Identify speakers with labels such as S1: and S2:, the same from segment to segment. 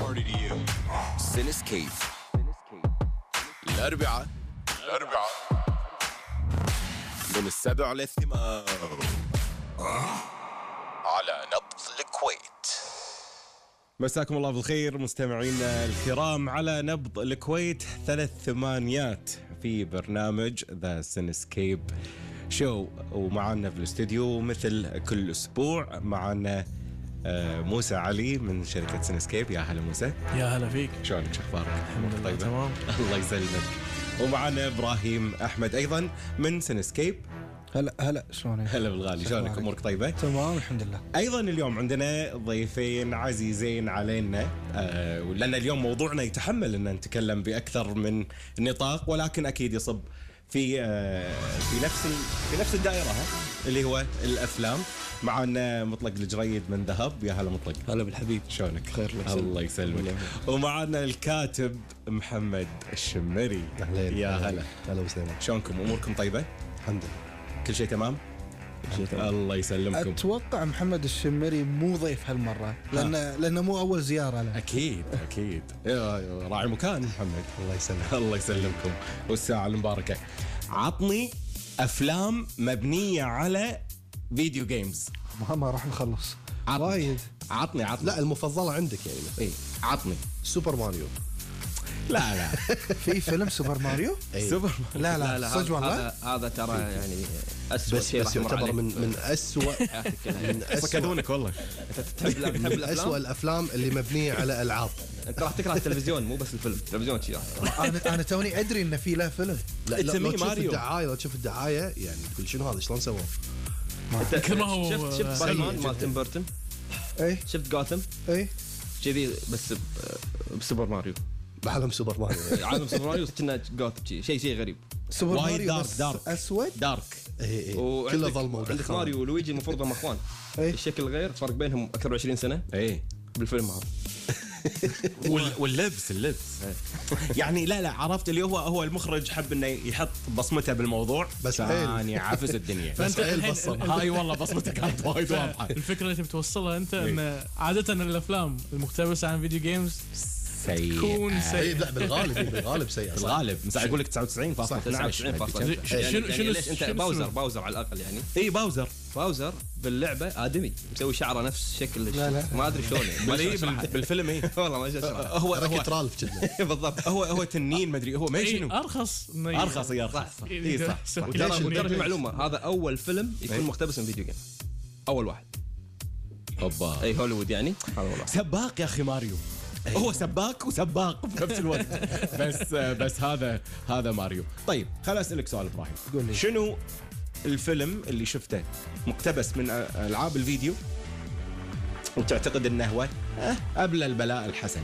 S1: party to you.
S2: سينسكيب الأربعاء
S1: الأربعاء
S2: من السبع للثمان على نبض الكويت
S3: مساكم الله بالخير مستمعينا الكرام على نبض الكويت ثلاث ثمانيات في برنامج ذا سينسكيب شو ومعنا في الاستديو مثل كل اسبوع معنا آه، موسى علي من شركة سينسكيب يا هلا موسى
S4: يا هلا فيك
S3: شلونك شو اخبارك؟
S4: الحمد لله تمام
S3: الله يسلمك ومعنا ابراهيم احمد ايضا من سينسكيب
S5: هلا هلا شلونك؟
S3: هلا بالغالي شلونك امورك طيبه؟
S5: تمام الحمد لله
S3: ايضا اليوم عندنا ضيفين عزيزين علينا آه، لان اليوم موضوعنا يتحمل ان نتكلم باكثر من نطاق ولكن اكيد يصب في آه، في نفس ال- في نفس الدائره ها، اللي هو الافلام معنا مطلق الجريد من ذهب يا هلا مطلق
S5: هلا بالحبيب
S3: شلونك؟
S5: خير الله يسلمك.
S3: الله يسلمك ومعنا الكاتب محمد الشمري يا هلا
S5: هلا وسهلا
S3: شلونكم اموركم طيبه؟
S5: الحمد لله
S3: كل شيء تمام؟ الله يسلمكم
S5: اتوقع محمد الشمري مو ضيف هالمره لانه لانه مو اول زياره له
S3: اكيد اكيد يا- يا راعي مكان محمد الله يسلمك الله يسلمكم والساعه المباركه عطني افلام مبنيه على فيديو جيمز
S5: ما ما راح نخلص
S3: عطني.
S5: وايد
S3: عطني عطني
S6: لا المفضلة عندك يعني مثلا
S3: ايه عطني
S6: سوبر ماريو
S3: لا لا
S5: في فيلم سوبر ماريو
S3: سوبر
S5: لا لا, صدق والله
S7: هذا هذا ترى يعني اسوء
S6: بس
S7: شيء
S6: بس يعتبر من من أسوأ من أسوأ
S3: صكدونك والله
S7: تحب
S6: من أسوأ
S7: الافلام
S6: الأفلام اللي مبنية على ألعاب
S7: انت راح تكره التلفزيون مو بس الفيلم التلفزيون شي راح تكره.
S5: انا انا توني ادري انه في له فيلم
S6: لا
S3: It's
S6: لا
S3: me,
S6: لو تشوف
S3: ماريو.
S6: الدعاية لو تشوف الدعاية يعني تقول شنو هذا شلون سووه
S7: انت
S4: كما هو
S7: شفت شفت
S4: سيء
S7: باتمان
S4: جداً.
S7: مال تيم بيرتون
S5: اي
S7: شفت جوثم
S5: اي
S7: كذي بس ب- بسوبر ماريو
S6: بعالم سوبر ماريو يعني.
S7: عالم سوبر ماريو كنا جوثم شي شيء شيء غريب
S5: سوبر
S3: وايد
S5: ماريو
S3: دارك،
S5: بس
S3: دارك.
S5: اسود
S3: دارك
S6: إيه، إيه.
S7: وعندك-
S6: كله ظلمة
S7: عندك
S6: ودخان.
S7: ماريو ولويجي المفروض هم اخوان
S5: إيه.
S7: الشكل غير فرق بينهم اكثر من 20 سنه
S3: ايه
S7: بالفيلم هذا
S3: وال- واللبس اللبس يعني لا لا عرفت اللي هو هو المخرج حب انه يحط بصمته بالموضوع
S6: بس
S3: عشان
S6: حيل.
S3: يعفس الدنيا
S4: فأنت
S7: إيه،
S6: عيل
S4: الحين-
S6: بصل.
S3: هاي والله بصمته كانت وايد واضحه
S4: الفكره اللي تبي توصلها انت
S3: إيه.
S4: ان عاده الافلام المقتبسه عن فيديو جيمز
S7: إيه.
S4: تكون
S3: سيئه
S6: إيه،
S4: سيئه
S6: لا بالغالب إيه، بالغالب سيء صح؟
S3: الغالب بس اقول لك 99
S6: صح،
S7: 99.9
S4: شنو-
S7: يعني-
S4: شنو-
S7: يعني ليش انت
S4: شنو
S7: باوزر
S4: اسمه؟
S7: باوزر على الاقل يعني
S3: اي باوزر
S7: باوزر باللعبه ادمي مسوي شعره نفس شكل لا
S5: لا.
S7: ما ادري شلون يعني. ما
S3: بال-
S7: أدري
S3: إيه،
S7: أشرحها.
S3: بال- بالفيلم اي
S7: والله ما أدري اشرحها
S3: هو هو
S6: حركة رالف كذا
S7: بالضبط
S3: هو هو تنين مدري هو ما
S4: إيه،
S3: شنو
S4: ارخص إنه-
S3: ارخص اي ارخص اي صح صح.
S7: ترى
S4: وترى-
S7: وترى في
S4: وترى-
S7: معلومه هذا اول فيلم يكون مقتبس من فيديو جيم اول واحد
S3: اوبا
S7: اي هوليوود يعني هذا والله
S3: سباق يا اخي ماريو هو سباك وسباق في نفس الوقت بس بس هذا هذا ماريو طيب خل اسالك سؤال ابراهيم
S5: قول لي.
S3: شنو الفيلم اللي شفته مقتبس من أ- العاب الفيديو وتعتقد انه هو أه، ابلى البلاء الحسن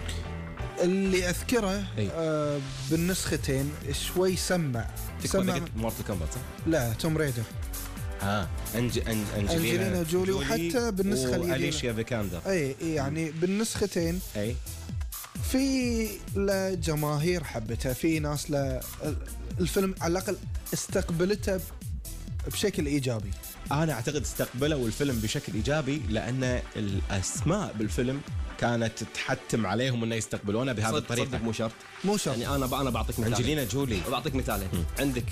S5: اللي اذكره
S3: إي.
S5: آه بالنسختين شوي سمع
S3: تكفى إذا
S5: سمع
S3: قلت مورتل كومبات صح؟
S5: لا توم ريدر
S3: ها أنج... أنج...
S5: أنجلينا جولي وحتى بالنسخة الجديدة.
S3: واليشيا فيكاندر
S5: اي إي، يعني بالنسختين
S3: اي
S5: في له جماهير حبتها في ناس له الفيلم على الاقل استقبلته بشكل ايجابي
S3: انا اعتقد استقبلوا الفيلم بشكل ايجابي لان الاسماء بالفيلم كانت تحتم عليهم انه يستقبلونه بهذه
S7: صدق صدق
S3: الطريقه
S7: مو شرط
S5: مو شرط
S7: يعني انا انا بعطيك مثال
S3: انجلينا جولي
S7: بعطيك مثالين عندك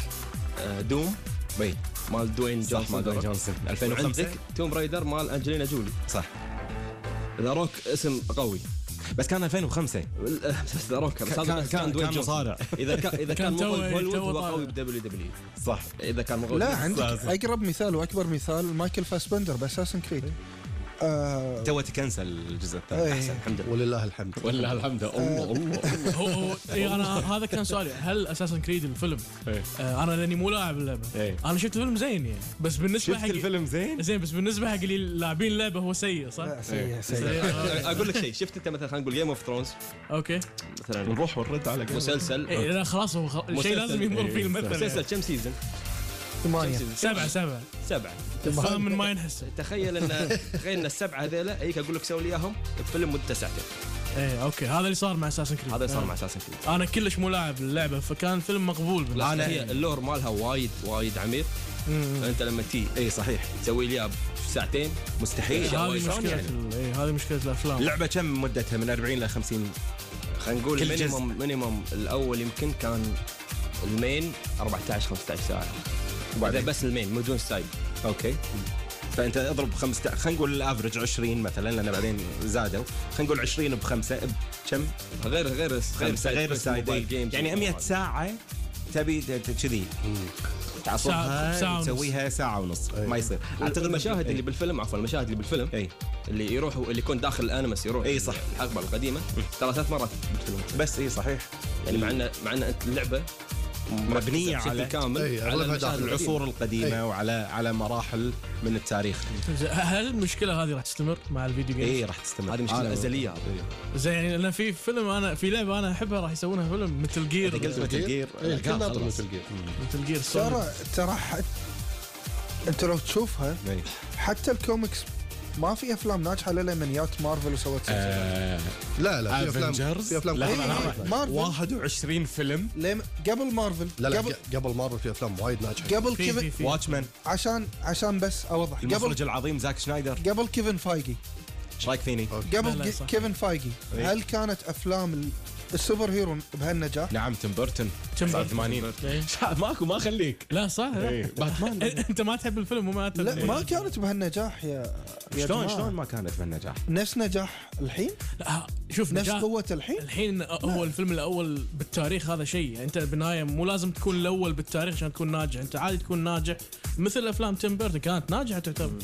S7: آه، دوم
S3: بي
S7: مال دوين
S3: صح
S7: جونسون
S3: مال
S7: درك.
S3: جونسون 2005
S7: وعندك توم رايدر مال انجلينا جولي
S3: صح
S7: ذا روك اسم قوي
S3: بس كان 2005
S7: ذا روك بس
S3: كان-
S7: هذا
S3: كان-
S7: دوين
S3: كان
S7: جونسون.
S3: مصارع.
S7: اذا كان اذا
S4: كان
S7: كان مو
S4: توه-
S7: قوي بهوليوود
S4: توه
S7: هو
S4: طالع.
S7: قوي بدبليو دبليو
S3: صح
S7: اذا كان مو قوي
S5: لا عندك
S3: لازم.
S5: اقرب مثال واكبر مثال مايكل فاسبندر باساسن كريد آه
S3: تو تكنسل الجزء الثاني
S5: إي.
S7: الحمد لله
S6: ولله الحمد
S3: ولا الحمد الله الله
S4: هو هو إيه، انا هذا كان سؤالي هل اساسا كريد الفيلم
S3: إيه.
S4: آه، انا لاني مو لاعب اللعبه
S3: إيه.
S4: انا شفت الفيلم زين يعني بس بالنسبه
S3: شفت
S4: حق
S3: الفيلم زين؟
S4: زين بس بالنسبه حق اللي لاعبين اللعبه هو سيء صح؟
S5: سيء سيء
S4: إيه،
S7: اقول لك شيء شفت انت مثلا خلينا نقول جيم اوف ثرونز
S4: اوكي
S7: مثلا
S3: نروح ونرد على قبل.
S7: مسلسل
S4: إيه، لا خلاص هو خل- شيء لازم يمر
S7: إيه،
S4: فيه
S3: إيه.
S7: مسلسل
S4: المثل
S7: كم سيزون؟
S3: طيب.
S5: ثمانية
S4: سبعة سبعة
S7: سبعة
S4: الفيلم من ما ينحسب
S7: تخيل ان تخيل ان السبعة هذيلا هيك اقول لك سوي لي اياهم بفيلم مدته ساعتين
S4: ايه اوكي هذا اللي صار مع آه. اساسن كريد
S7: هذا صار مع اساسن كريد
S4: انا كلش مو لاعب اللعبه فكان الفيلم مقبول بالنسبة
S7: انا
S4: لي.
S7: هي اللور مالها وايد وايد عميق فانت لما تي إيه،
S3: اي صحيح
S7: تسوي لي إياه في ساعتين
S3: مستحيل
S4: إيه، هذه
S7: شلون
S4: مشكله
S7: يعني؟
S4: ال- إيه، هذه مشكله الافلام
S3: اللعبه كم مدتها من 40 ل 50
S7: خلينا نقول
S3: كل جزء.
S7: مينيموم مينيموم الاول يمكن كان المين 14 15 ساعه اذا
S3: وبعدين
S7: بس المين مو دون سايد
S3: اوكي فانت اضرب 15 خلينا نقول الافرج 20 مثلا لان بعدين زادوا خلينا نقول 20 بخمسه بكم؟
S7: غير غير غير
S3: خمسه
S7: side
S3: غير
S7: quest mobile
S3: السايد
S7: games
S3: يعني 100 ساعه تبي ت- ت- كذي
S4: ساعة- ساعة
S3: تعصبها
S4: ونص.
S3: تسويها ساعه ونص ما يصير
S7: اعتقد المشاهد
S3: إيه.
S7: اللي بالفيلم عفوا المشاهد اللي بالفيلم
S3: اي
S7: اللي يروحوا اللي يكون داخل الانمس يروح
S3: إي صح.
S7: الحقبه القديمه ترى ثلاث مرات بالفيلم
S3: بس اي صحيح
S7: يعني مع ان مع ان انت اللعبه
S3: مبنيه
S7: بشكل
S3: على
S7: كامل
S6: إي، أغلبها
S7: على المشاهد
S6: داخل
S7: القديمة.
S3: العصور القديمه
S6: إيه.
S3: وعلى على مراحل من التاريخ
S4: زين، هل المشكله هذه راح تستمر مع الفيديو جيمز؟
S3: اي راح تستمر
S7: هذه مشكله
S3: أنا-
S7: ازليه هذه
S4: زين يعني انا في فيلم انا في لعبه انا احبها راح يسوونها فيلم مثل
S3: إذا قلت
S4: جير
S3: مثل جير
S6: إيه،
S3: لا،
S6: الكل ناطر
S3: خلاص.
S6: مثل جير
S4: مثل جير
S5: ترى ترى ح- انت لو تشوفها
S3: إي.
S5: حتى الكوميكس ما في افلام ناجحه الا من يات مارفل وسوت سلسله
S3: آه،
S6: لا لا في افلام
S3: Avengers؟
S6: في افلام
S3: لا،
S5: إي،
S6: كثير.
S3: طبعاً
S5: إي، إيه، مارفل
S3: 21 فيلم
S5: ليه- قبل مارفل
S6: لا لا
S5: قبل
S6: ق- قبل مارفل في افلام وايد ناجحه
S5: قبل
S4: في في
S5: كيفن
S4: في
S3: واتشمان
S5: عشان عشان بس اوضح قبل
S3: المخرج العظيم زاك شنايدر
S5: قبل كيفن فايجي
S3: ايش رايك فيني؟
S5: قبل
S4: لا، لا، صح.
S5: كي- كيفن فايجي
S3: إي.
S5: هل كانت افلام ال- السوبر هيرو بهالنجاح؟
S3: نعم تيم بيرتون
S4: كم
S3: 89
S4: إيه.
S3: ماكو ما خليك
S4: لا صح لا.
S3: باتمان
S4: انت ما تحب الفيلم وما تحب
S5: لا ما كانت بهالنجاح يا
S3: شلون
S5: يا جماعة.
S3: شلون ما كانت بالنجاح؟
S5: نفس نجاح الحين
S4: لا، آه، شوف
S5: نفس
S4: نجاح
S5: قوه الحين
S4: الحين هو الفيلم الاول بالتاريخ هذا شيء يعني انت بالنهايه مو لازم تكون الاول بالتاريخ عشان تكون ناجح انت عادي تكون ناجح مثل افلام تيم بيرتون كانت ناجحه تعتبر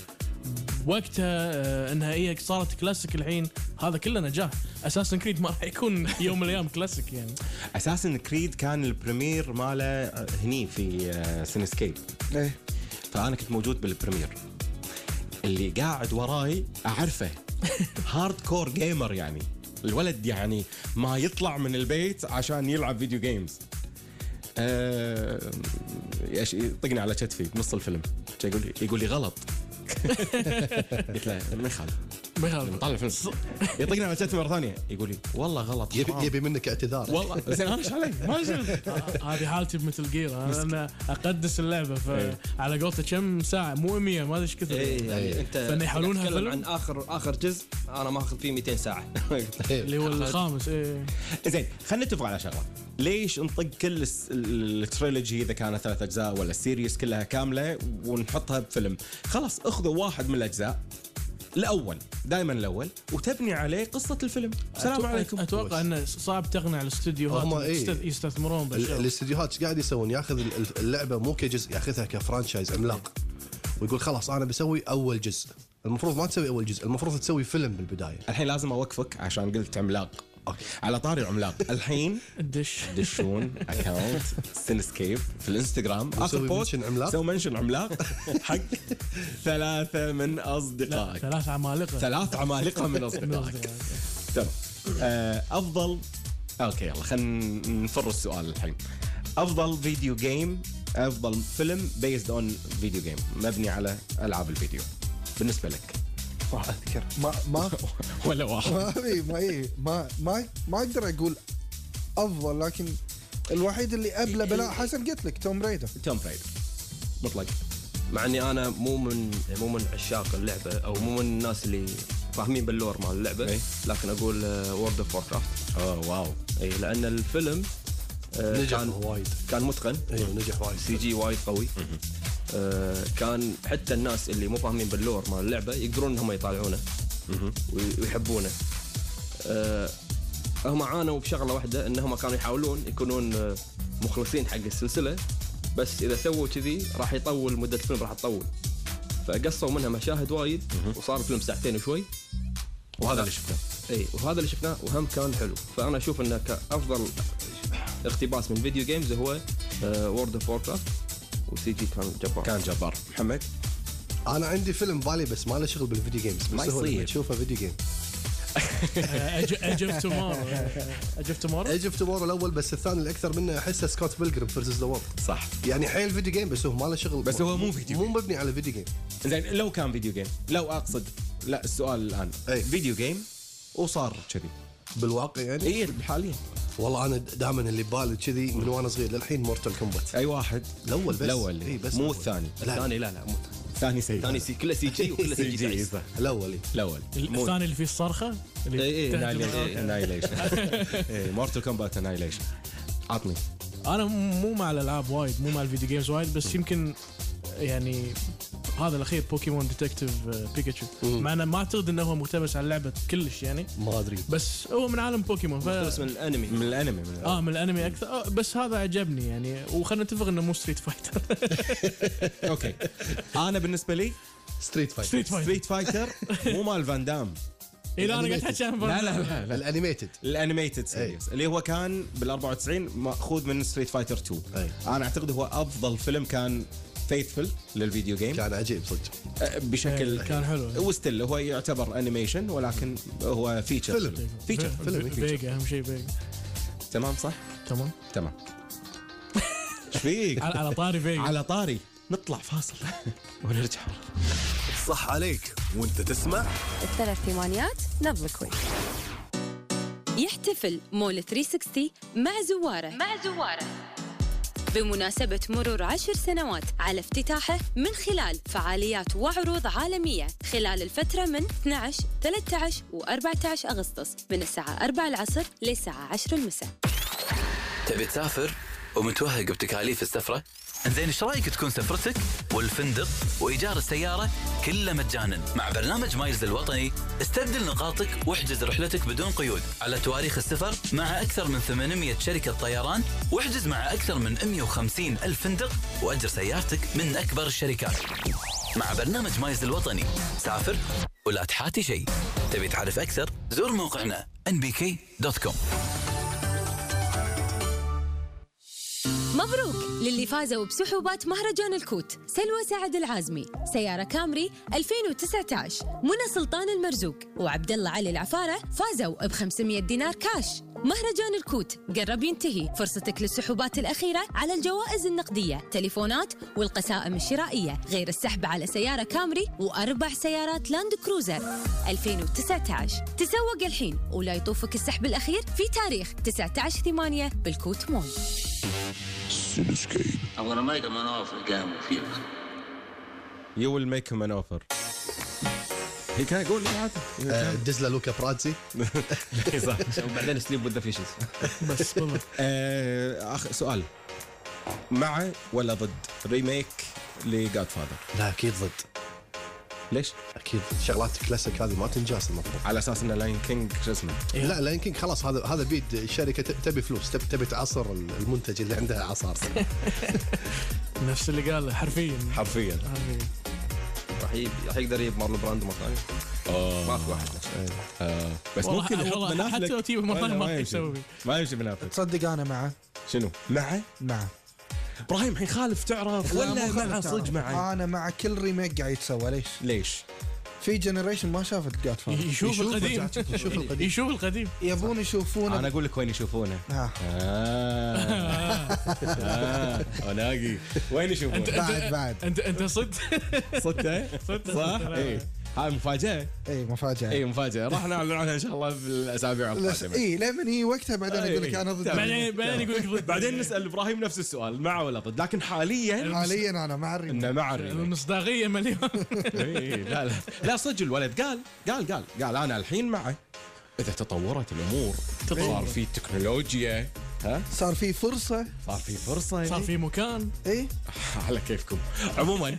S4: وقتها آه، انها هي صارت كلاسيك الحين هذا كله نجاح اساسا كريد ما راح يكون يوم من الايام كلاسيك يعني
S3: اساسا كريد كان البريمير ماله هني في آه، سينسكيب
S5: إيه.
S3: فانا كنت موجود بالبريمير اللي قاعد وراي اعرفه هارد كور جيمر يعني الولد يعني ما يطلع من البيت عشان يلعب فيديو جيمز أه... يش- يطقني على كتفي بنص الفيلم شي يقول لي يقول لي غلط قلت له ما يخالف
S4: ما يخالف.
S3: نطلع الفيلم يطقني على كتفي مره ثانيه يقول لي والله غلط
S6: يبي
S3: حرام.
S6: يبي منك اعتذار
S3: والله زين انا ايش علي؟ ما لي شغل.
S4: آه، هذه حالتي بمثل جير انا أنا اقدس اللعبه فعلى قولته كم ساعه مو 100 ما ادري ايش
S7: إيه،
S4: كثر
S7: يعني انت
S4: فإن يحولونها
S7: تتكلم
S4: فيلم؟
S7: عن اخر اخر جزء انا ماخذ فيه 200 ساعه
S6: إيه.
S4: اللي هو الخامس ايه
S3: زين خلينا نتفق على شغله ليش نطق كل الس- ال- التريلوجي اذا كانت ثلاث اجزاء ولا السيريس كلها كامله ونحطها بفيلم خلاص اخذوا واحد من الاجزاء الاول دائما الاول وتبني عليه قصه الفيلم السلام
S4: أتوقع-
S3: عليكم
S4: اتوقع انه صعب تقنع الاستديوهات
S6: هم
S4: إن
S6: إيه.
S4: يست- يستثمرون
S6: ال-
S4: بالشغل
S6: الاستديوهات ايش قاعد يسوون؟ ياخذ ال- ال- اللعبه مو كجزء ياخذها كفرانشايز عملاق ويقول خلاص انا بسوي اول جزء المفروض ما تسوي اول جزء المفروض تسوي فيلم بالبدايه
S3: الحين لازم اوقفك عشان قلت عملاق
S6: أوكي.
S3: على طاري عملاق الحين
S4: الدش
S3: دشون اكونت سينسكيب في الانستغرام اخر
S6: نسوي
S3: بوست
S6: منشن عملاق؟
S3: سوي منشن عملاق حق ثلاثه من اصدقائك
S4: ثلاث عمالقه
S3: ثلاث عمالقه من اصدقائك تمام آه، افضل اوكي يلا خلينا نفر السؤال الحين افضل فيديو جيم افضل فيلم بيزد اون فيديو جيم مبني على العاب الفيديو بالنسبه لك
S5: ما اذكر ما ما
S3: ولا واحد
S5: ما في ما إيه ما ما ما اقدر اقول افضل لكن الوحيد اللي ابلى بلاء حسن قلت لك توم ريدر
S3: توم برايدر مطلق
S7: مع اني انا مو من مو من عشاق اللعبه او مو من الناس اللي فاهمين باللور مال اللعبه
S3: إي.
S7: لكن آه، اقول وورد اوف ووركرافت
S3: اوه واو
S7: اي لان إيه، الفيلم آه،
S6: نجح
S7: كان
S6: وايد
S7: كان متقن
S6: ايوه نجح وايد
S7: سي جي وايد قوي آه، كان حتى الناس اللي مو فاهمين باللور مال اللعبه يقدرون انهم يطالعونه وي- ويحبونه آه، هم عانوا بشغله واحده انهم كانوا يحاولون يكونون آه، مخلصين حق السلسله بس اذا سووا كذي راح يطول مده الفيلم راح تطول فقصوا منها مشاهد وايد وصار الفيلم ساعتين وشوي
S3: وهذا اللي شفته
S7: اي وهذا اللي شفناه وهم كان حلو فانا اشوف انه كافضل اقتباس من فيديو جيمز هو آه، وورد اوف ووركرافت وسي جي كان جبار
S3: كان جبار محمد
S6: انا عندي فيلم بالي بس ما له شغل بالفيديو جيمز بس
S3: ما
S6: هو لما
S3: يصير.
S6: تشوفه فيديو جيم
S4: اجف تومورو اجف تومورو
S6: ايج اوف تومورو الاول بس الثاني الاكثر منه احسه سكوت بيلجرم فيرسز ذا وورد
S3: صح
S6: يعني حيل فيديو جيم بس هو ما له شغل
S3: بس هو مو فيديو
S6: مو
S3: جيم.
S6: مبني على فيديو جيم
S3: زين لو كان فيديو جيم لو اقصد لا السؤال الان
S6: أي.
S3: فيديو جيم وصار كذي إيه،
S6: بالواقع يعني
S3: اي حاليا
S6: والله انا دائما اللي ببالي كذي من وانا صغير للحين مورتال كومبات
S3: اي واحد
S6: الاول بس
S3: الاول
S6: إي بس
S3: مو
S6: الأول.
S3: الثاني
S7: الثاني لا لا مو
S3: إيه، الثاني سيء
S7: الثاني يعني سي كله سي جي وكله سي جي
S3: صح.
S6: الاول إي.
S3: الاول
S4: الثاني اللي فيه الصرخه اللي
S3: إيه،
S7: إي إي،
S4: تهجم
S7: نعم،
S4: الأرض.
S7: إي.
S3: انايليشن مورتال كومبات انايليشن عطني
S4: انا مو مع الالعاب وايد مو مع الفيديو جيمز وايد بس يمكن يعني هذا الاخير بوكيمون ديتكتيف بيكاتشو آه، مع انه ما اعتقد انه هو مقتبس على اللعبه كلش يعني
S6: ما ادري
S4: بس هو من عالم بوكيمون ف...
S7: بس من الانمي
S3: من الانمي من
S4: اه من الانمي اكثر آه بس هذا عجبني يعني وخلينا نتفق انه مو ستريت فايتر
S3: اوكي انا بالنسبه لي
S6: ستريت فايتر
S4: ستريت فايتر
S3: ستريت فايتر مو مال فان دام
S4: اي إيه، لا انا قاعد احكي عن لا
S3: لا
S6: الانيميتد
S3: الانيميتد سيريز اللي هو كان بال 94 ماخوذ من ستريت فايتر 2
S6: أي.
S3: انا اعتقد هو افضل فيلم كان فيثفل للفيديو جيم
S6: كان عجيب صدق
S3: أه، بشكل
S4: كان حلو
S3: وستيل هو يعتبر انيميشن ولكن هو فيتشر
S6: فيلم.
S3: فيتشر
S6: فيلم فيتشر.
S4: فيجا اهم شيء فيجا
S3: تمام صح؟
S4: تمام
S3: تمام ايش فيك؟
S4: على على طاري فيجا
S3: على طاري نطلع فاصل ونرجع
S1: صح عليك وانت تسمع
S8: الثلاث ثمانيات نبض الكويت
S9: يحتفل مول 360 مع زواره
S8: مع زواره
S9: بمناسبة مرور عشر سنوات على افتتاحه من خلال فعاليات وعروض عالمية خلال الفترة من 12 13 و 14 أغسطس من الساعة 4 العصر للساعة 10 المساء
S1: تبي تسافر ومتوهق بتكاليف السفرة زين ايش رايك تكون سفرتك والفندق وايجار السياره كله مجانا مع برنامج مايلز الوطني استبدل نقاطك واحجز رحلتك بدون قيود على تواريخ السفر مع اكثر من 800 شركه طيران واحجز مع اكثر من 150 الف فندق واجر سيارتك من اكبر الشركات مع برنامج مايلز الوطني سافر ولا تحاتي شيء تبي تعرف اكثر زور موقعنا nbk.com
S9: مبروك للي فازوا بسحوبات مهرجان الكوت سلوى سعد العازمي سيارة كامري 2019 منى سلطان المرزوق وعبد الله علي العفارة فازوا ب 500 دينار كاش مهرجان الكوت قرب ينتهي فرصتك للسحوبات الأخيرة على الجوائز النقدية تليفونات والقسائم الشرائية غير السحب على سيارة كامري وأربع سيارات لاند كروزر 2019 تسوق الحين ولا يطوفك السحب الأخير في تاريخ 19 8 بالكوت مول
S10: I'm gonna make him an offer again with you.
S3: يو ويل ميك هيم ان اوفر هي كان يقول لا عاد
S6: آه، دزله لوكا برادزي
S7: وبعدين سليب وذ فيشز
S4: بس بالضبط
S3: آه، اخ سؤال مع ولا ضد ريميك لجاد فاذر
S6: لا اكيد ضد
S3: ليش؟
S6: اكيد شغلات كلاسيك هذه ما تنجاس المفروض
S3: على اساس ان لاين كينج شو اسمه
S6: لا لا يمكن خلاص هذا هذا بيد الشركه ت- تبي فلوس تبي تبي تعصر المنتج اللي عندها عصار
S4: نفس اللي قال حرفيا
S3: حرفيا
S4: حرفياً.
S7: راح يجيب- راح يقدر يجيب مارلو براندو مره ثانيه ماكو واحد
S3: آه، بس
S4: والله-
S3: ممكن يحط
S4: والله
S3: بن
S4: حتى
S3: أفلك.
S4: لو تجيبه مرة
S3: لا، لا،
S4: ما
S3: يمشي.
S4: يسوي.
S3: ما يمشي بن أفلك.
S5: تصدق انا معه نعم.
S3: شنو؟ معه؟
S5: معه
S3: ابراهيم الحين خالف تعرف ولا مع صدق معه؟
S5: انا مع كل ريميك قاعد يتسوى ليش؟
S3: ليش؟
S5: في جنريشن ما شافت جاد فاذر
S4: يشوف القديم
S6: شوف القديم
S4: يشوف القديم
S5: يبون
S3: انا
S5: يشوفونه
S3: اقول لك وين يشوفونه
S5: آه.
S3: آه. آه. الاقي وين يشوفونه؟
S5: بعد بعد
S4: انت انت صدق
S3: صدته؟
S4: صدته.
S3: صح؟ إيه. اي
S4: لا.
S3: هاي مفاجاه
S5: اي مفاجاه
S4: إيه،
S3: اي مفاجاه إيه، راح نعلن عنها ان شاء الله في الاسابيع
S5: لس-
S3: القادمه
S5: اي لمن هي إيه، وقتها بعدين
S3: إي،
S5: اقول لك
S4: إيه.
S3: إي.
S5: انا ضد
S4: بعدين بعدين يقول لك ضد.
S3: بعدين نسال ابراهيم نفس السؤال مع ولا ضد لكن حاليا
S5: حاليا انا مع الريميك
S3: انه مع الريميك.
S4: المصداقيه مليون
S3: إي، إيه. لا لا لا صدق الولد قال قال قال قال انا الحين معه اذا تطورت الامور صار في تكنولوجيا ها
S5: صار في إيه؟ فرصه
S3: صار في فرصه
S4: صار طيب، في مكان
S5: اي
S3: على كيفكم عموما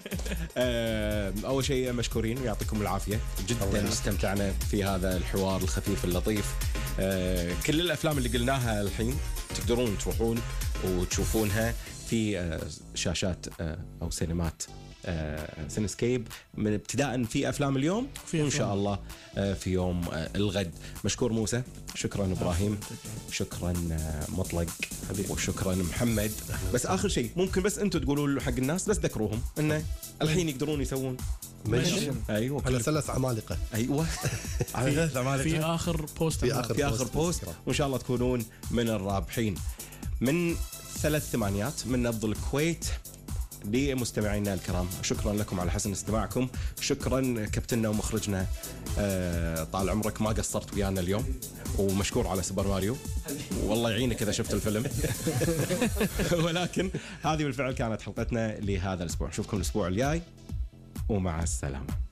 S3: آه، اول شيء مشكورين ويعطيكم العافيه جدا استمتعنا في هذا الحوار الخفيف اللطيف آه، كل الافلام اللي قلناها الحين تقدرون تروحون وتشوفونها في آه، شاشات آه، او سينمات آه، سينسكيب من ابتداء في افلام اليوم
S4: في
S3: وان شاء
S4: أفلام.
S3: الله آه، في يوم آه، الغد مشكور موسى شكرا ابراهيم شكرا آه، مطلق وشكرا محمد بس اخر شيء ممكن بس انتم تقولوا له حق الناس بس ذكروهم انه الحين يقدرون يسوون
S6: ماشي
S3: ايوه
S6: على
S3: كل-
S6: ثلاث عمالقه
S3: ايوه على ثلاث أعمال.
S4: في اخر بوست
S6: في
S4: عندنا.
S6: آخر
S3: في اخر
S6: بوست
S3: بوست
S6: بالإنستغرام.
S3: وان شاء الله تكونون من الرابحين من ثلاث ثمانيات من نبض الكويت لمستمعينا الكرام شكرا لكم على حسن استماعكم شكرا كابتننا ومخرجنا آه، طال عمرك ما قصرت ويانا اليوم ومشكور على سوبر ماريو والله يعينك اذا شفت الفيلم ولكن هذه بالفعل كانت حلقتنا لهذا الاسبوع نشوفكم الاسبوع الجاي ومع السلامه